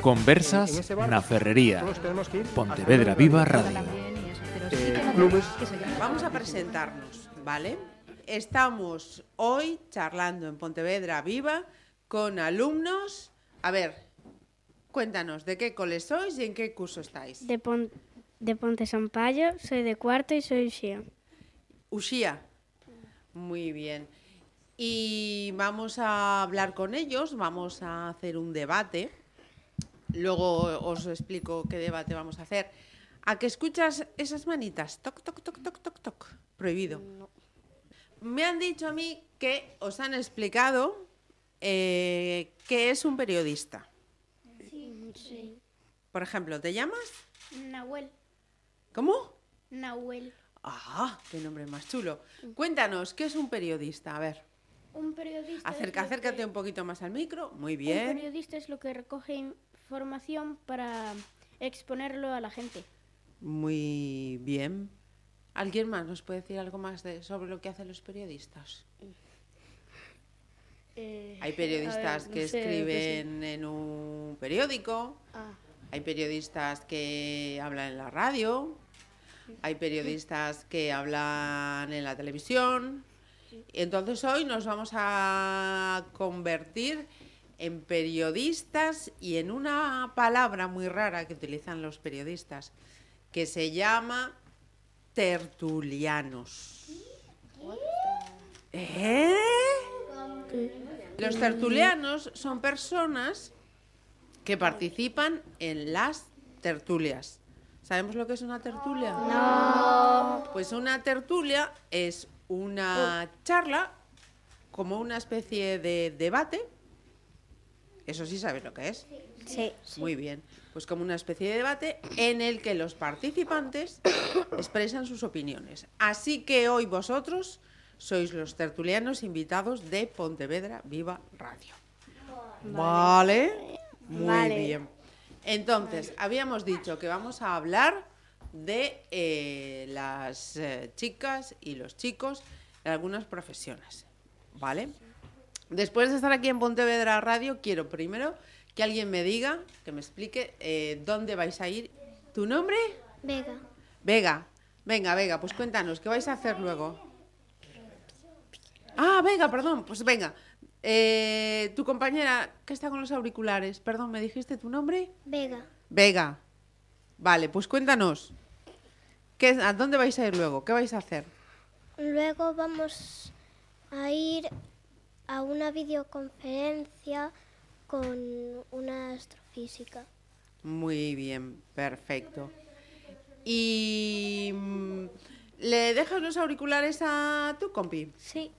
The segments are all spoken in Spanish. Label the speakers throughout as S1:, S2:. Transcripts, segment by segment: S1: Conversas na Ferrería. Pontevedra Viva Radio.
S2: eh,
S3: clubes.
S4: Vamos a presentarnos, ¿vale? Estamos hoy charlando en Pontevedra Viva con alumnos. A ver, cuéntanos, ¿de qué cole sois y en qué curso estáis?
S5: De, Pon- de Ponte Sampaio, soy de cuarto y soy Xia.
S4: Ushia. Muy bien. Y vamos a hablar con ellos, vamos a hacer un debate. Luego os explico qué debate vamos a hacer. ¿A que escuchas esas manitas? Toc, toc, toc, toc, toc, toc. Prohibido. Me han dicho a mí que os han explicado eh, qué es un periodista.
S5: Sí.
S4: Por ejemplo, ¿te llamas?
S5: Nahuel.
S4: ¿Cómo?
S5: Nahuel.
S4: Ah, qué nombre más chulo. Cuéntanos, ¿qué es un periodista? A ver.
S5: Un periodista.
S4: Acerca, acércate un poquito más al micro. Muy
S5: Un
S4: bien.
S5: periodista es lo que recoge información para exponerlo a la gente.
S4: Muy bien. ¿Alguien más nos puede decir algo más de, sobre lo que hacen los periodistas?
S5: Eh,
S4: Hay periodistas que escriben en un periódico,
S5: Ah,
S4: hay periodistas que hablan en la radio, hay periodistas que hablan en la televisión. Entonces hoy nos vamos a convertir en periodistas y en una palabra muy rara que utilizan los periodistas, que se llama tertulianos. ¿Eh? Los tertulianos son personas que participan en las tertulias. ¿Sabemos lo que es una tertulia? No. Pues una tertulia es una charla como una especie de debate. Eso sí sabes lo que es.
S5: Sí.
S4: Muy bien. Pues como una especie de debate en el que los participantes expresan sus opiniones. Así que hoy vosotros sois los tertulianos invitados de Pontevedra Viva Radio. Vale. Muy
S5: Vale.
S4: bien. Entonces, habíamos dicho que vamos a hablar de eh, las eh, chicas y los chicos en algunas profesiones. ¿Vale? Después de estar aquí en Pontevedra Radio, quiero primero que alguien me diga, que me explique eh, dónde vais a ir. ¿Tu nombre?
S5: Vega.
S4: Vega. Venga, Vega, pues cuéntanos, ¿qué vais a hacer luego? Ah, Vega, perdón, pues venga. Eh, tu compañera que está con los auriculares, perdón, ¿me dijiste tu nombre?
S5: Vega.
S4: Vega. Vale, pues cuéntanos. ¿Qué, ¿A dónde vais a ir luego? ¿Qué vais a hacer?
S6: Luego vamos a ir a una videoconferencia con una astrofísica.
S4: Muy bien, perfecto. Y mm, le dejas los auriculares a tu compi,
S5: Sí.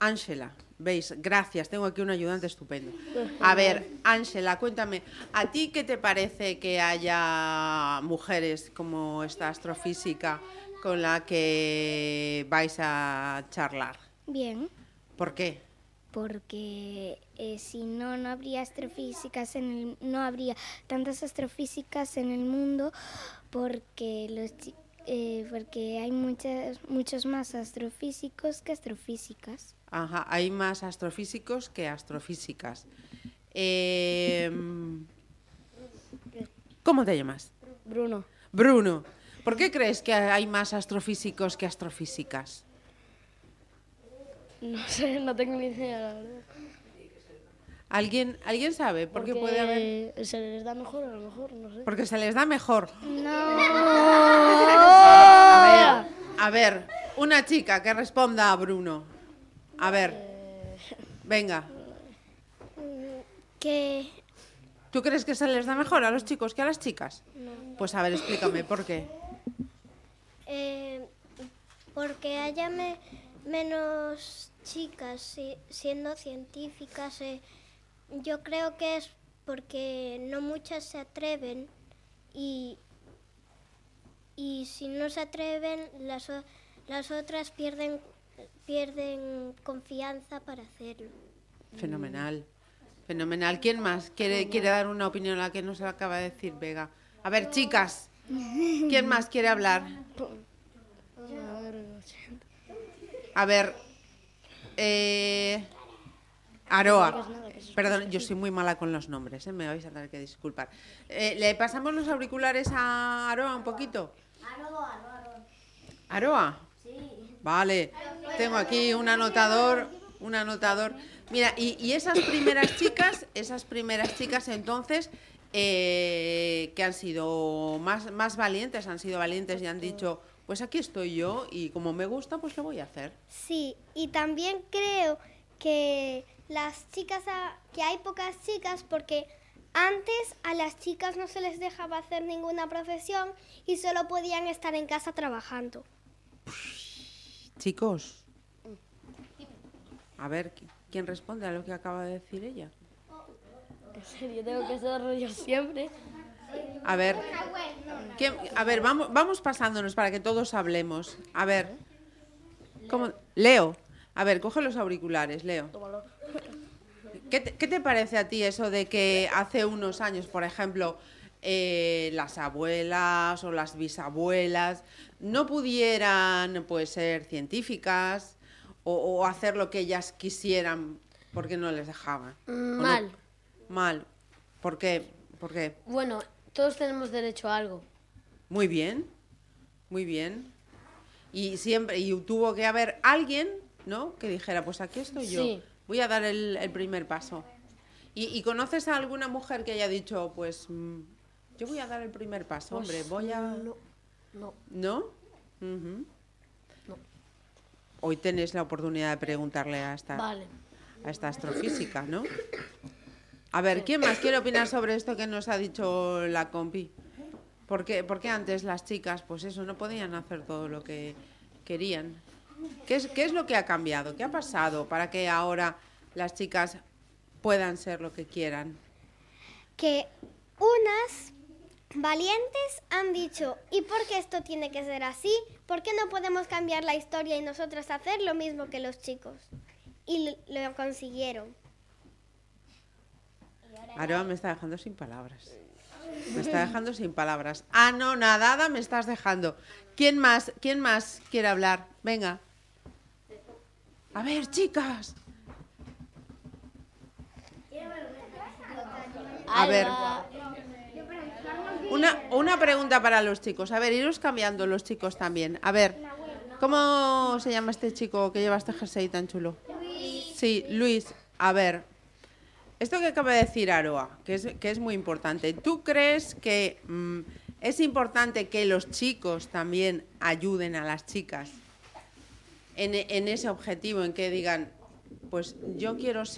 S4: Ángela. Veis, gracias, tengo aquí un ayudante estupendo. A ver, Ángela, cuéntame, ¿a ti qué te parece que haya mujeres como esta astrofísica con la que vais a charlar?
S6: Bien,
S4: ¿Por qué?
S6: porque eh, si no, no habría astrofísicas en el, no habría tantas astrofísicas en el mundo porque los chi- eh, porque hay muchas muchos más astrofísicos que astrofísicas.
S4: Ajá, hay más astrofísicos que astrofísicas. Eh, ¿Cómo te llamas?
S5: Bruno.
S4: Bruno, ¿por qué crees que hay más astrofísicos que astrofísicas?
S5: No sé, no tengo ni idea, la verdad.
S4: ¿Alguien, ¿alguien sabe por qué puede haber?
S5: Se les da mejor, a lo mejor, no sé.
S4: Porque se les da mejor.
S5: A ver.
S4: A ver, una chica que responda a Bruno. A
S5: Eh.
S4: ver, venga.
S6: Que
S4: ¿Tú crees que se les da mejor a los chicos que a las chicas? Pues a ver, explícame por qué.
S6: Eh, porque haya me- menos chicas si- siendo científicas, eh, yo creo que es porque no muchas se atreven y, y si no se atreven, las, o- las otras pierden, pierden confianza para hacerlo.
S4: Fenomenal. Fenomenal. ¿Quién más quiere, quiere dar una opinión a la que no se la acaba de decir Vega? A ver, chicas, ¿quién más quiere hablar? A ver, eh, Aroa,
S5: esos
S4: Perdón,
S5: puestos.
S4: yo soy muy mala con los nombres, ¿eh? me vais a tener que disculpar. Eh, ¿Le pasamos los auriculares a Aroa un poquito? Aroa. Vale, tengo aquí un anotador, un anotador. Mira, y, y esas primeras chicas, esas primeras chicas entonces, eh, que han sido más, más valientes, han sido valientes y han dicho, pues aquí estoy yo y como me gusta, pues lo voy a hacer.
S6: Sí, y también creo que las chicas, a- que hay pocas chicas porque antes a las chicas no se les dejaba hacer ninguna profesión y solo podían estar en casa trabajando.
S4: Chicos, a ver, ¿qui- ¿quién responde a lo que acaba de decir ella?
S7: En serio, tengo que hacerlo yo siempre.
S4: A ver, ¿quién- a ver, vamos, vamos pasándonos para que todos hablemos. A ver, ¿cómo? Leo, a ver, coge los auriculares, Leo.
S7: Tómalo.
S4: ¿Qué te, qué te parece a ti eso de que hace unos años, por ejemplo, eh, las abuelas o las bisabuelas no pudieran pues, ser científicas o, o hacer lo que ellas quisieran porque no les dejaban? ¿O no?
S7: Mal.
S4: Mal. ¿Por qué? ¿Por qué?
S7: Bueno, todos tenemos derecho a algo.
S4: Muy bien, muy bien. Y siempre, y tuvo que haber alguien, ¿no? Que dijera, pues aquí estoy yo,
S7: Sí.
S4: voy a dar el, el primer paso. ¿Y, y conoces a alguna mujer que haya dicho, pues mm, yo voy a dar el primer paso, hombre, voy a...
S7: Pues No, no.
S4: ¿No? Ujú.
S7: No.
S4: Hoy tenéis la oportunidad de preguntarle a esta,
S7: Vale.
S4: a esta astrofísica, ¿no? A ver, ¿quién más quiere opinar sobre esto que nos ha dicho la compi? ¿Por qué, por qué antes las chicas, pues eso, no podían hacer todo lo que querían? ¿Qué es, ¿Qué es lo que ha cambiado? ¿Qué ha pasado para que ahora las chicas puedan ser lo que quieran?
S6: Que unas valientes han dicho, ¿y por qué esto tiene que ser así? ¿Por qué no podemos cambiar la historia y nosotras hacer lo mismo que los chicos? Y lo lo consiguieron.
S4: Aroa me está dejando sin palabras. Me está dejando sin palabras. Ah, no, nadada me estás dejando. ¿Quién más? ¿Quién más quiere hablar? Venga. A ver, chicas. A ver. Una, una pregunta para los chicos. A ver, iros cambiando los chicos también. A ver, ¿cómo se llama este chico que lleva este jersey tan chulo? Luis. Sí, Luis. A ver, esto que acaba de decir Aroa, que es, que es muy importante, ¿tú crees que mm, es importante que los chicos también ayuden a las chicas en, e- en ese objetivo, en que digan, pues yo quiero ser,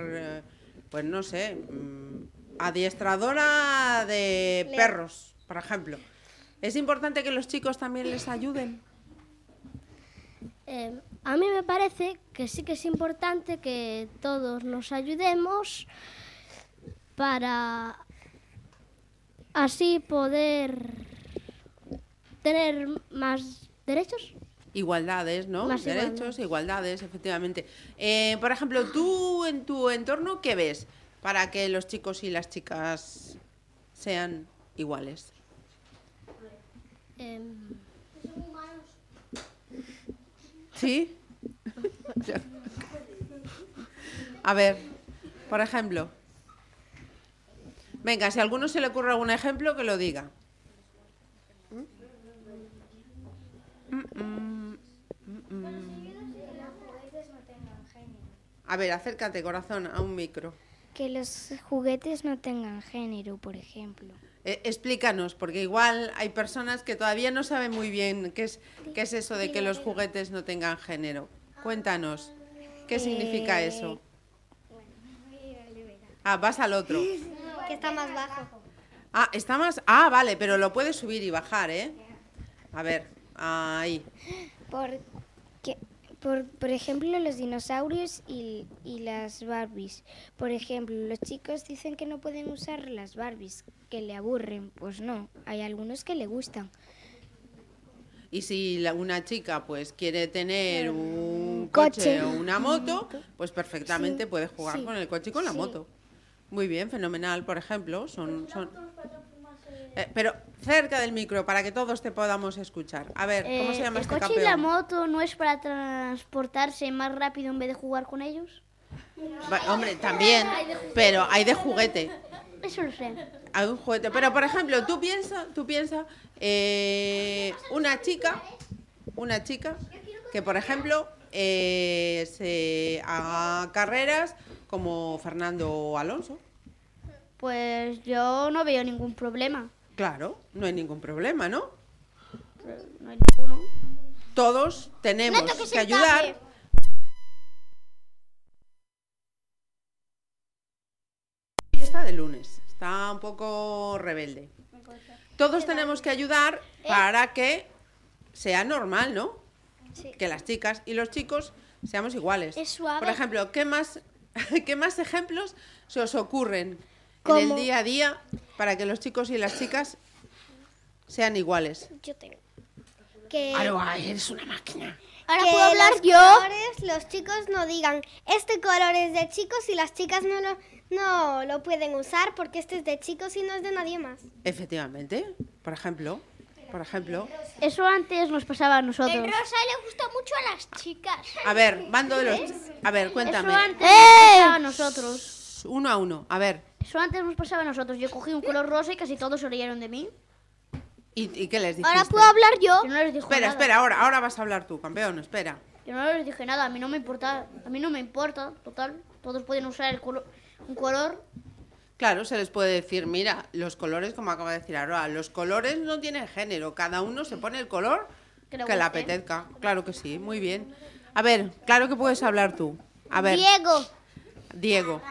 S4: eh, pues no sé, mm, adiestradora de perros, por ejemplo? ¿Es importante que los chicos también les ayuden?
S8: Eh, a mí me parece que sí que es importante que todos nos ayudemos para así poder tener más derechos.
S4: Igualdades, ¿no?
S8: Más
S4: Derechos, igualdades, efectivamente. Eh, por ejemplo, tú en tu entorno, ¿qué ves para que los chicos y las chicas sean iguales?
S8: Em,
S4: ¿Sí? A ver, por ejemplo. Venga, si a alguno se le ocurre algún ejemplo, que lo diga. A ver, acércate, corazón, a un micro.
S8: Que los juguetes no tengan género, por ejemplo.
S4: Eh, explícanos, porque igual hay personas que todavía no saben muy bien qué es, qué es eso de que los juguetes no tengan género. Cuéntanos, ¿qué significa eso? Ah, vas al otro.
S6: Que está más bajo.
S4: Ah, está más. Ah, vale, pero lo puedes subir y bajar, ¿eh? A ver, ahí.
S8: Porque, por, por ejemplo, los dinosaurios y, y las Barbies. Por ejemplo, los chicos dicen que no pueden usar las Barbies, que le aburren. Pues no, hay algunos que le gustan.
S4: Y si la- una chica pues quiere tener un coche,
S8: coche.
S4: o una moto, pues perfectamente puede jugar con el coche y con la moto. Muy bien, fenomenal, por ejemplo, son son Eh, pero cerca del micro para que todos te podamos escuchar. A ver, ¿cómo
S5: Eh,
S4: se llama
S8: ¿El
S4: este
S8: coche y
S4: campeón?
S8: la moto no es para transportarse más rápido en vez de jugar con ellos?
S4: Va- hombre, también, pero hay de juguete.
S5: Eso lo sé.
S4: Hay un juguete. Pero, por ejemplo, tú piensas, tú piensa, eh, una chica, una chica que, por ejemplo, eh, se haga carreras como Fernando Alonso.
S5: Pues yo no veo ningún problema.
S4: Claro, no hay ningún problema, ¿no?
S5: No hay ninguno.
S4: Todos tenemos
S6: toques
S4: que
S6: el
S4: ayudar. Y Está de lunes, está un poco rebelde. Todos tenemos que ayudar
S6: Eh.
S4: para que sea normal, ¿no?
S6: Sí.
S4: Que las chicas y los chicos seamos iguales.
S6: Es suave.
S4: Por ejemplo, ¿qué más, ¿qué más ejemplos se os ocurren en el
S6: Como-
S4: día a día para que los chicos y las chicas sean iguales?
S6: Yo tengo. Que,
S4: eres una máquina.
S5: Ahora
S6: que
S5: puedo hablar
S6: los
S5: yo.
S6: colores, los chicos no digan, este color es de chicos y las chicas no lo, no lo pueden usar porque este es de chicos y no es de nadie más.
S4: Efectivamente, por ejemplo, por ejemplo.
S5: Eso antes nos pasaba a nosotros.
S6: le gusta mucho a las chicas.
S4: A ver, bando de los. A ver, cuéntame.
S5: Eso antes nos pasaba a nosotros.
S4: Uno a uno, a ver.
S5: Eso antes nos pasaba a nosotros. Yo cogí un color rosa y casi todos se rieron de mí.
S4: ¿Y, y qué les dijiste?
S5: Ahora puedo hablar yo. Yo no les dije
S4: Espera,
S5: nada.
S4: espera, ahora, ahora vas a hablar tú, campeón, espera.
S5: Yo no les dije nada. A mí no me importa. A mí no me importa. Total. Todos pueden usar el colo- un color.
S4: Claro, se les puede decir, mira, los colores, como acaba de decir Aroa, los colores no tienen género, cada uno se pone el color
S5: Que
S4: que,
S5: le
S4: le
S5: guste.
S4: apetezca. Claro que sí, muy bien. A ver, claro que puedes hablar tú. A ver,
S6: Diego,
S4: Diego,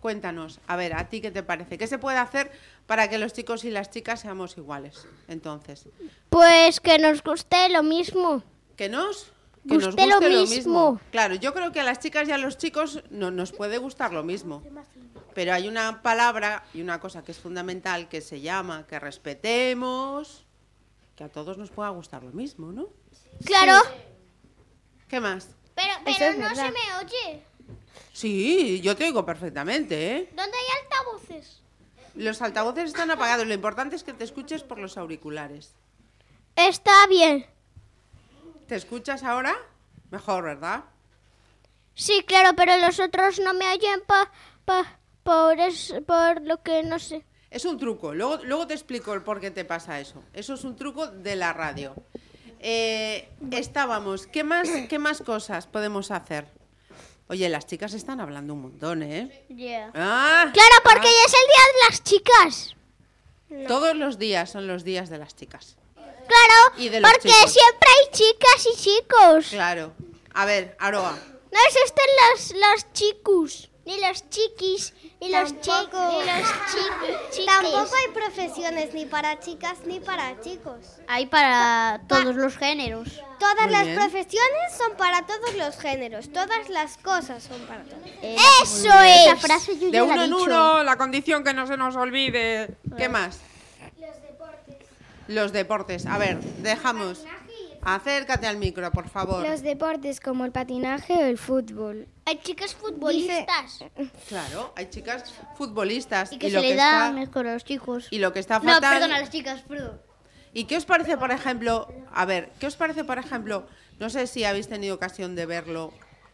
S4: cuéntanos, a ver, ¿a ti qué te parece? ¿Qué se puede hacer para que los chicos y las chicas seamos iguales? Entonces,
S6: pues que nos guste lo mismo.
S4: que nos que nos
S6: Guste
S4: guste
S6: lo
S4: lo mismo.
S6: mismo.
S4: Claro, yo creo que a las chicas y a los chicos no, nos puede gustar lo mismo. Pero hay una palabra y una cosa que es fundamental que se llama que respetemos, que a todos nos pueda gustar lo mismo, ¿no?
S6: Claro,
S4: ¿Qué más?
S6: pero, pero no se me oye.
S4: Sí, yo te oigo perfectamente, ¿eh?
S6: ¿Dónde hay altavoces?
S4: Los altavoces están apagados, lo importante es que te escuches por los auriculares.
S6: Está bien.
S4: ¿Te escuchas ahora? Mejor, ¿verdad?
S6: Sí, claro, pero los otros no me oyen pa, pa, por, es- por lo que no sé.
S4: Es un truco. Luego, luego te explico el por qué te pasa eso. Eso es un truco de la radio. Eh, estábamos. ¿Qué más, ¿Qué más cosas podemos hacer? Oye, las chicas están hablando un montón, ¿eh?
S5: Yeah.
S4: ¡Ah!
S6: Claro, porque hoy es el día de las chicas.
S4: Todos los días son los días de las chicas.
S6: Claro,
S4: Y de los
S6: porque
S4: chicos.
S6: siempre hay chicas y chicos.
S4: Claro. A ver, Aroa.
S6: No existen los, los chicus, ni los chiquis, ni los chicos. Ni los Tampoco hay profesiones ni para chicas ni para chicos.
S5: Hay para todos los géneros.
S6: Todas
S4: Muy
S6: las
S4: bien.
S6: profesiones son para todos los géneros, todas las cosas son para todos.
S5: Eh,
S6: Eso es.
S5: Esa frase yo
S4: De
S5: ya la
S4: uno
S5: he
S4: en
S5: dicho.
S4: uno, la condición que no se nos olvide. ¿Qué más? Los deportes. Los deportes. A ver, dejamos. Acércate al micro, por favor.
S8: Los deportes como el patinaje o el fútbol.
S5: Hay chicas futbolistas.
S4: Claro, hay chicas futbolistas.
S5: y que
S4: lo
S5: se le
S4: que
S5: da
S4: está-
S5: mejor a los chicos.
S4: Y lo que está
S5: No,
S4: fatal.
S5: perdón, a las chicas, perdón.
S4: ¿Y qué os parece, por ejemplo? A ver, ¿qué os parece, por ejemplo? No sé si habéis tenido ocasión de verlo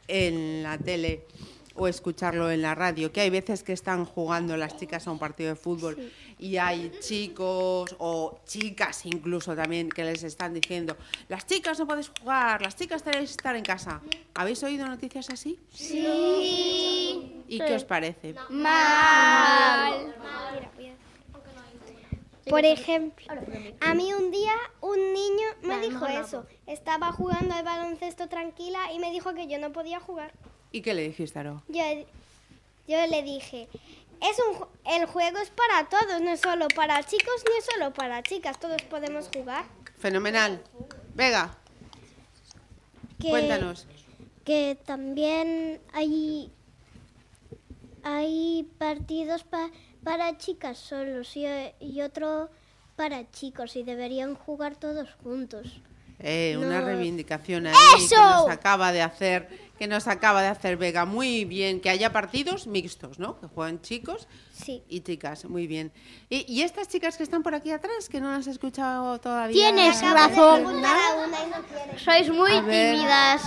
S4: en la tele o escucharlo en la radio, que hay veces que están jugando las chicas a un partido de fútbol y hay chicos o chicas incluso también que les están diciendo, las chicas no podéis jugar, las chicas tenéis que estar en casa. ¿Habéis oído noticias así? Sí. ¿Y qué os parece?
S6: Por ejemplo, a mí un día un niño me dijo eso. Estaba jugando al baloncesto tranquila y me dijo que yo no podía jugar.
S4: ¿Y qué le dijiste, Aro?
S6: Yo, yo le dije, es un, ju- el juego es para todos, no es solo para chicos ni es solo para chicas, todos podemos jugar.
S4: Fenomenal. Vega, cuéntanos.
S6: que también hay hay partidos pa- para chicas solos y, y otro para chicos y deberían jugar todos juntos.
S4: Eh, una
S6: No.
S4: reivindicación ahí que
S6: ¡Eso!
S4: nos acaba de hacer, que nos acaba de hacer Vega. Muy bien, que haya partidos mixtos, ¿no? Que jueguen chicos
S6: Sí.
S4: y chicas, muy bien. ¿Y, y estas chicas que están por aquí atrás, que no las he escuchado todavía?
S5: Tienes
S6: Acabo de
S5: razón.
S6: preguntar a una y no quiere.
S5: Sois muy
S4: A ver.
S5: tímidas.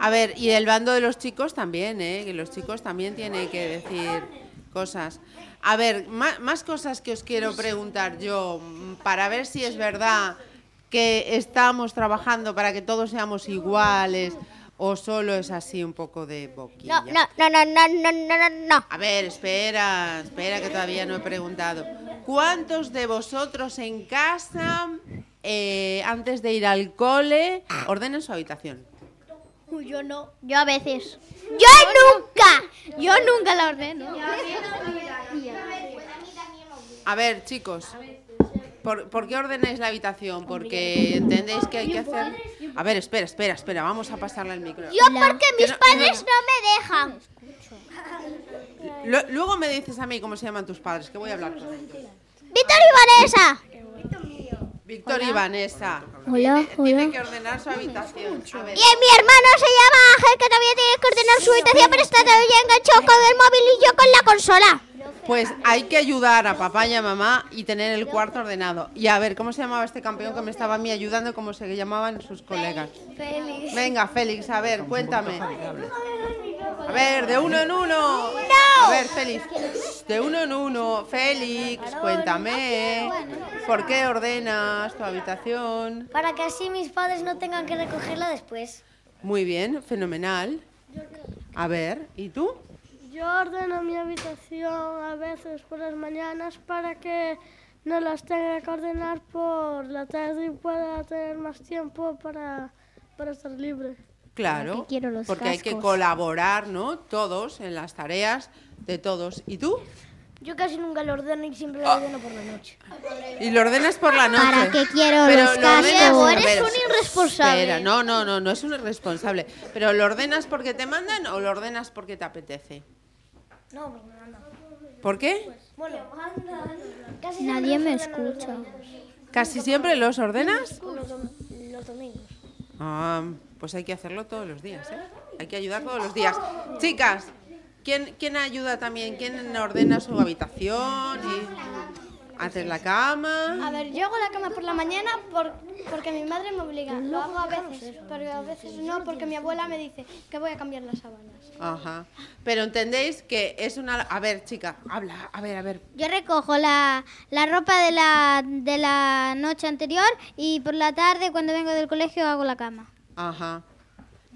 S4: A ver, y el bando de los chicos también, ¿eh? Que los chicos también tienen que decir cosas. A ver, ma- más cosas que os quiero preguntar yo, mm, para ver si es verdad que estamos trabajando para que todos seamos iguales o solo es así un poco de boquilla.
S5: No, no, no, no, no, no, no, no, no.
S4: A ver, espera, espera que todavía no he preguntado. ¿Cuántos de vosotros en casa, eh, antes de ir al cole, ordenan su habitación?
S5: Yo no. Yo a veces. ¡Yo nunca! Yo nunca la ordeno.
S4: A ver, chicos. ¿Por, por qué ordenáis la habitación? Porque entendéis que hay que hacer... A ver, espera, espera, espera. Vamos a pasarle al micro.
S5: Yo porque
S4: mis
S5: mis
S4: no- padres
S5: padres no me dejan.
S4: Lo- luego me dices a mí cómo se llaman tus padres, que voy a hablar con ellos.
S5: ¡Víctor y Vanessa!
S4: Víctor y Vanessa.
S8: Hola,
S4: Tienen que ordenar su habitación. A ver.
S5: Y mi hermano se llama Ángel, que también tiene que ordenar su habitación, pero está todavía enganchado con el móvil y yo con la consola.
S4: Pues hay que ayudar a papá y a mamá y tener el cuarto ordenado. Y a ver, ¿cómo se llamaba este campeón que me estaba a mí ayudando? ¿Cómo se llamaban sus colegas? Félix. Venga, Félix, a ver, cuéntame. A ver, de uno en uno. A ver, Félix. De uno en uno. Félix, cuéntame. ¿Por qué ordenas tu habitación?
S7: Para que así mis padres no tengan que recogerla después.
S4: Muy bien, fenomenal. A ver, ¿y tú?
S9: Yo ordeno mi habitación a veces por las mañanas para que no las tenga que ordenar por la tarde y pueda tener más tiempo para, para estar libre.
S4: Claro, porque hay que colaborar, ¿no? Todos en las tareas de todos. ¿Y tú? Ah.
S7: Yo casi nunca lo ordeno y siempre lo ordeno por la noche.
S4: Y lo ordenas por la noche.
S3: ¿Para qué quiero
S4: Pero
S3: los
S4: lo ordenas-
S3: cascos?
S4: a ver,
S5: Eres un irresponsable.
S4: Espera, no, no, no, no es un irresponsable. Pero ¿lo ordenas porque te mandan o lo ordenas porque te apetece?
S7: No, porque me mandan. Pues,
S4: ¿Por qué?
S7: Bueno, casi
S8: Nadie me escucha.
S4: ¿Casi siempre los ordenas?
S7: Los, dom- los domingos.
S4: Ah, pues hay que hacerlo todos los días, ¿eh? Hay que ayudar todos los días. Chicas, ¿quién, quién ayuda también? ¿Quién ordena su habitación? Y... Haces la cama.
S9: A ver, yo hago la cama por la mañana por- porque mi madre me obliga. Lo hago a veces, pero a veces no porque mi abuela me dice que voy a cambiar las sábanas.
S4: Ajá. Pero entendéis que es una... A ver, chica, habla. A ver, a ver.
S3: Yo recojo la, la ropa de la, de la noche anterior y por la tarde cuando vengo del colegio hago la cama.
S4: Ajá.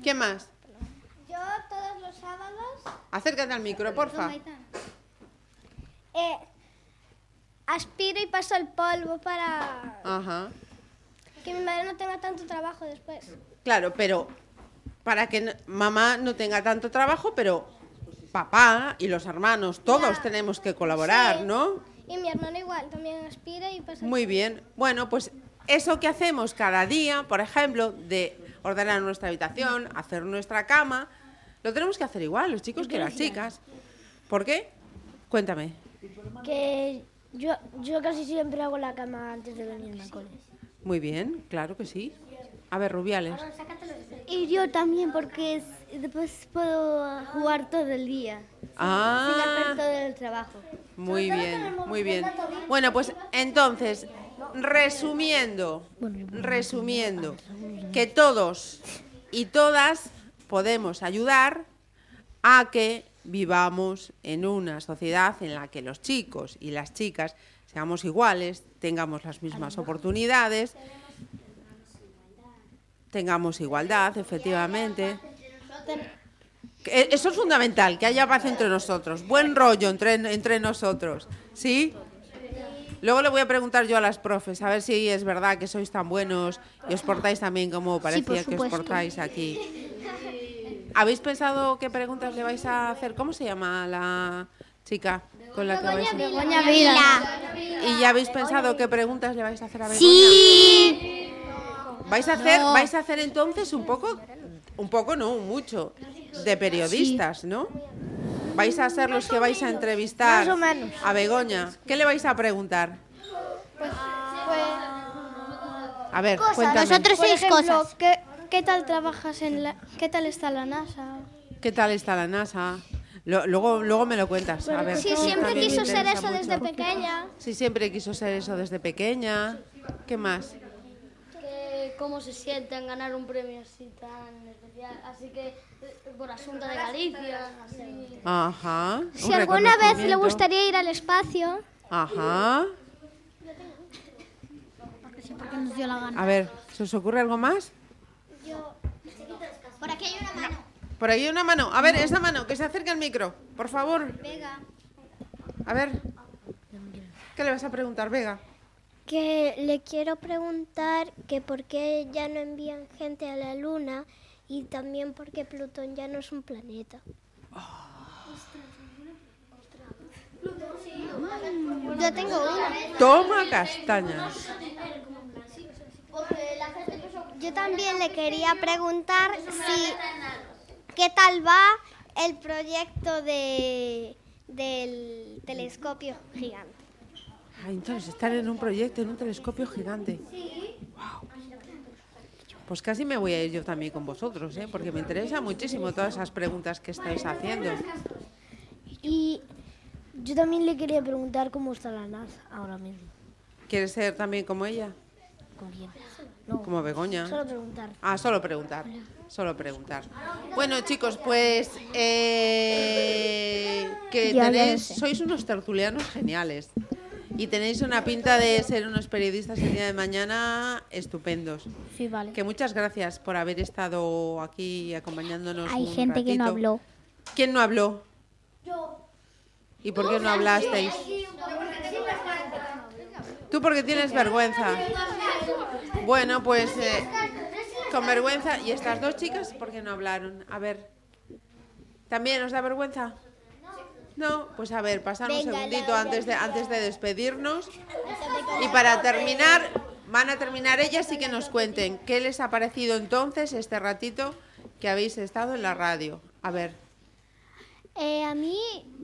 S4: ¿Qué más?
S6: Yo todos los sábados
S4: Acércate al micro, porfa.
S3: Eh,
S6: aspiro y paso el polvo para
S4: Ajá.
S6: que mi madre no tenga tanto trabajo después.
S4: Claro, pero para que no- mamá no tenga tanto trabajo, pero papá y los hermanos, todos tenemos que colaborar,
S6: Sí.
S4: ¿no?
S6: Y mi hermano igual, también aspira y pasa
S4: Muy bien. Bueno, pues eso que hacemos cada día, por ejemplo, de ordenar nuestra habitación, hacer nuestra cama, lo tenemos que hacer igual, los chicos que las chicas. ¿Por qué? Cuéntame.
S7: Que yo, yo casi siempre hago la cama antes de venirme al cole.
S4: Muy bien, claro que sí. A ver, Rubiales.
S9: Y yo también porque después puedo jugar todo el día,
S4: Ah.
S9: el trabajo.
S4: Muy bien, muy bien. Bueno, pues entonces, resumiendo, resumiendo, que todos y todas podemos ayudar a que vivamos en una sociedad en la que los chicos y las chicas seamos iguales, tengamos las mismas oportunidades, tengamos igualdad, efectivamente. Que Eso es fundamental, que haya paz entre nosotros, buen rollo entre, entre nosotros, ¿sí? Luego le voy a preguntar yo a las profes, a ver si es verdad que sois tan buenos y os portáis también como parecía que os
S3: supuesto.
S4: portáis aquí. ¿Habéis pensado qué preguntas le vais a hacer? ¿Cómo se llama la chica con la que vais a...
S3: Begoña Vila.
S4: ¿Y ya habéis pensado qué preguntas le vais a hacer a Begoña?
S3: Sí.
S4: Vais a hacer, vais a hacer entonces un poco, un poco no, un mucho, de periodistas, ¿no? Vais a ser los que vais a entrevistar a Begoña. ¿Qué le vais a preguntar?
S6: Pues,
S4: A ver, cuéntame.
S3: Nosotros seis cosas.
S9: ¿qué, ¿qué tal trabajas en la... ¿Qué tal está la NASA?
S4: ¿Qué tal está la NASA? Lo- luego, luego me lo cuentas. A ver.
S6: Sí,
S4: ¿qué
S6: siempre
S4: tal? Me
S6: quiso
S4: interesa
S6: ser eso
S4: mucho.
S6: desde pequeña.
S4: Sí, siempre quiso ser eso desde pequeña. ¿Qué más?
S6: Que
S9: cómo se sienten ganar un premio así tan especial. Así que eh, por asunto de Galicia. así.
S4: Ajá. un
S3: Si alguna vez le
S4: reconocimiento.
S3: gustaría ir al espacio,
S4: Ajá. A ver, ¿se os ocurre algo más?
S3: por aquí hay una mano.
S4: Por ahí hay una mano. A ver, esa mano, que se acerque al micro, por favor. A ver. ¿Qué le vas a preguntar, Vega?
S6: Que le quiero preguntar que por qué ya no envían gente a la luna y también por qué Plutón ya no es un planeta.
S3: Yo tengo una.
S4: Toma castañas.
S3: Yo también le quería preguntar si qué tal va el proyecto de del telescopio gigante.
S4: Ah, entonces están en un proyecto, en un telescopio gigante. Guau. Pues casi me voy a ir yo también con vosotros, ¿eh? porque me interesa muchísimo todas esas preguntas que estáis haciendo.
S7: Y yo también le quería preguntar cómo está la NASA ahora mismo.
S4: ¿Quieres ser también como ella?
S7: ¿Con quién? No,
S4: Como Begoña.
S7: solo preguntar.
S4: Ah, solo preguntar. Solo preguntar. Bueno, chicos, pues eh, que
S8: Ya, ya lo
S4: tenéis,
S8: sé.
S4: sois unos tertulianos geniales y tenéis una pinta de ser unos periodistas el día de mañana estupendos.
S7: Sí, vale.
S4: Que muchas gracias por haber estado aquí acompañándonos.
S5: Hay
S4: un
S5: gente que no
S4: ratito.
S5: habló.
S4: ¿Quién no habló? Yo. ¿Y por qué no hablasteis? Tú porque tienes vergüenza. Bueno, pues eh, con vergüenza. ¿Y estas dos chicas por qué no hablaron? A ver. ¿También os da vergüenza? No, pues a ver, pasar un segundito antes de, antes de despedirnos. Y para terminar, van a terminar ellas y que nos cuenten qué les ha parecido entonces este ratito que habéis estado en la radio. A ver,
S6: Eh, a mí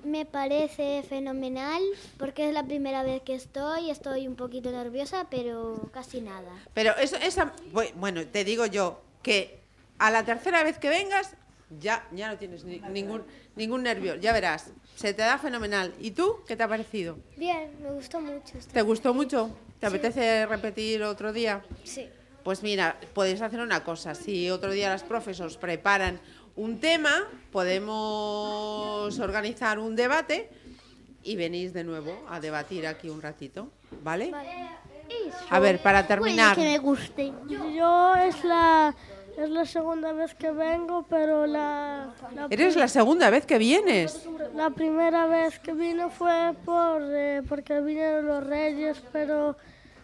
S6: me parece fenomenal porque es la primera vez que estoy, estoy un poquito nerviosa, pero casi nada.
S4: pero eso, esa, bu- bueno, te digo yo que a la tercera vez que vengas ya, ya no tienes ni- ningún, ningún nervio, ya verás, se te da fenomenal. ¿Y tú qué te ha parecido?
S6: Bien, me gustó mucho.
S4: ¿Te gustó mucho? ¿Te apetece repetir otro día?
S6: Sí.
S4: Pues mira, podéis hacer una cosa. Si otro día las profes os preparan un tema, podemos organizar un debate y venís de nuevo a debatir aquí un ratito, ¿vale? A ver, para terminar,
S3: guste.
S9: Yo es la, es la segunda vez que vengo, pero la, la,
S4: eres la segunda vez que vienes.
S9: la primera vez que vino fue por, eh, porque vinieron los reyes, pero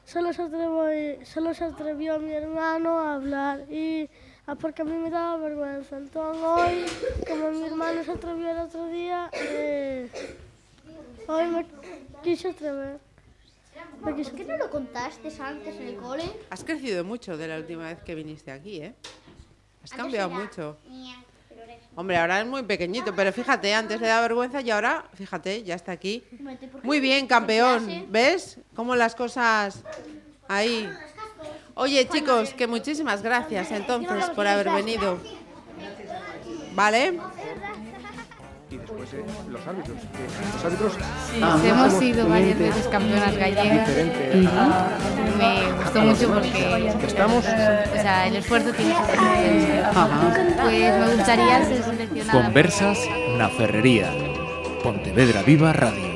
S9: solo se, atrevo- solo se atrevió mi hermano a hablar y ah, porque a mí me daba vergüenza. Entonces hoy, como mi hermano se atrevió el otro día, eh, hoy me quise atrever. Me quise atrever.
S3: ¿No lo contaste antes en el cole?
S4: Has crecido mucho de la última vez que viniste aquí, ¿eh? Has cambiado mucho. Hombre, ahora es muy pequeñito, pero fíjate, antes le da vergüenza y ahora, fíjate, ya está aquí. Muy bien, campeón. ¿Ves cómo las cosas ahí? Oye, chicos, que muchísimas gracias entonces por haber venido. ¿Vale?
S10: Y después eh, los árbitros. que Los árbitros
S2: Ah, hemos sido varias veces campeonas gallegas.
S10: diferente
S2: Ah,
S10: a-
S2: Me gustó mucho porque
S10: que estamos.
S2: o sea, el esfuerzo tiene que ser Pues me gustaría ser seleccionada.
S1: Conversas na Ferrería. Pontevedra Viva Radio.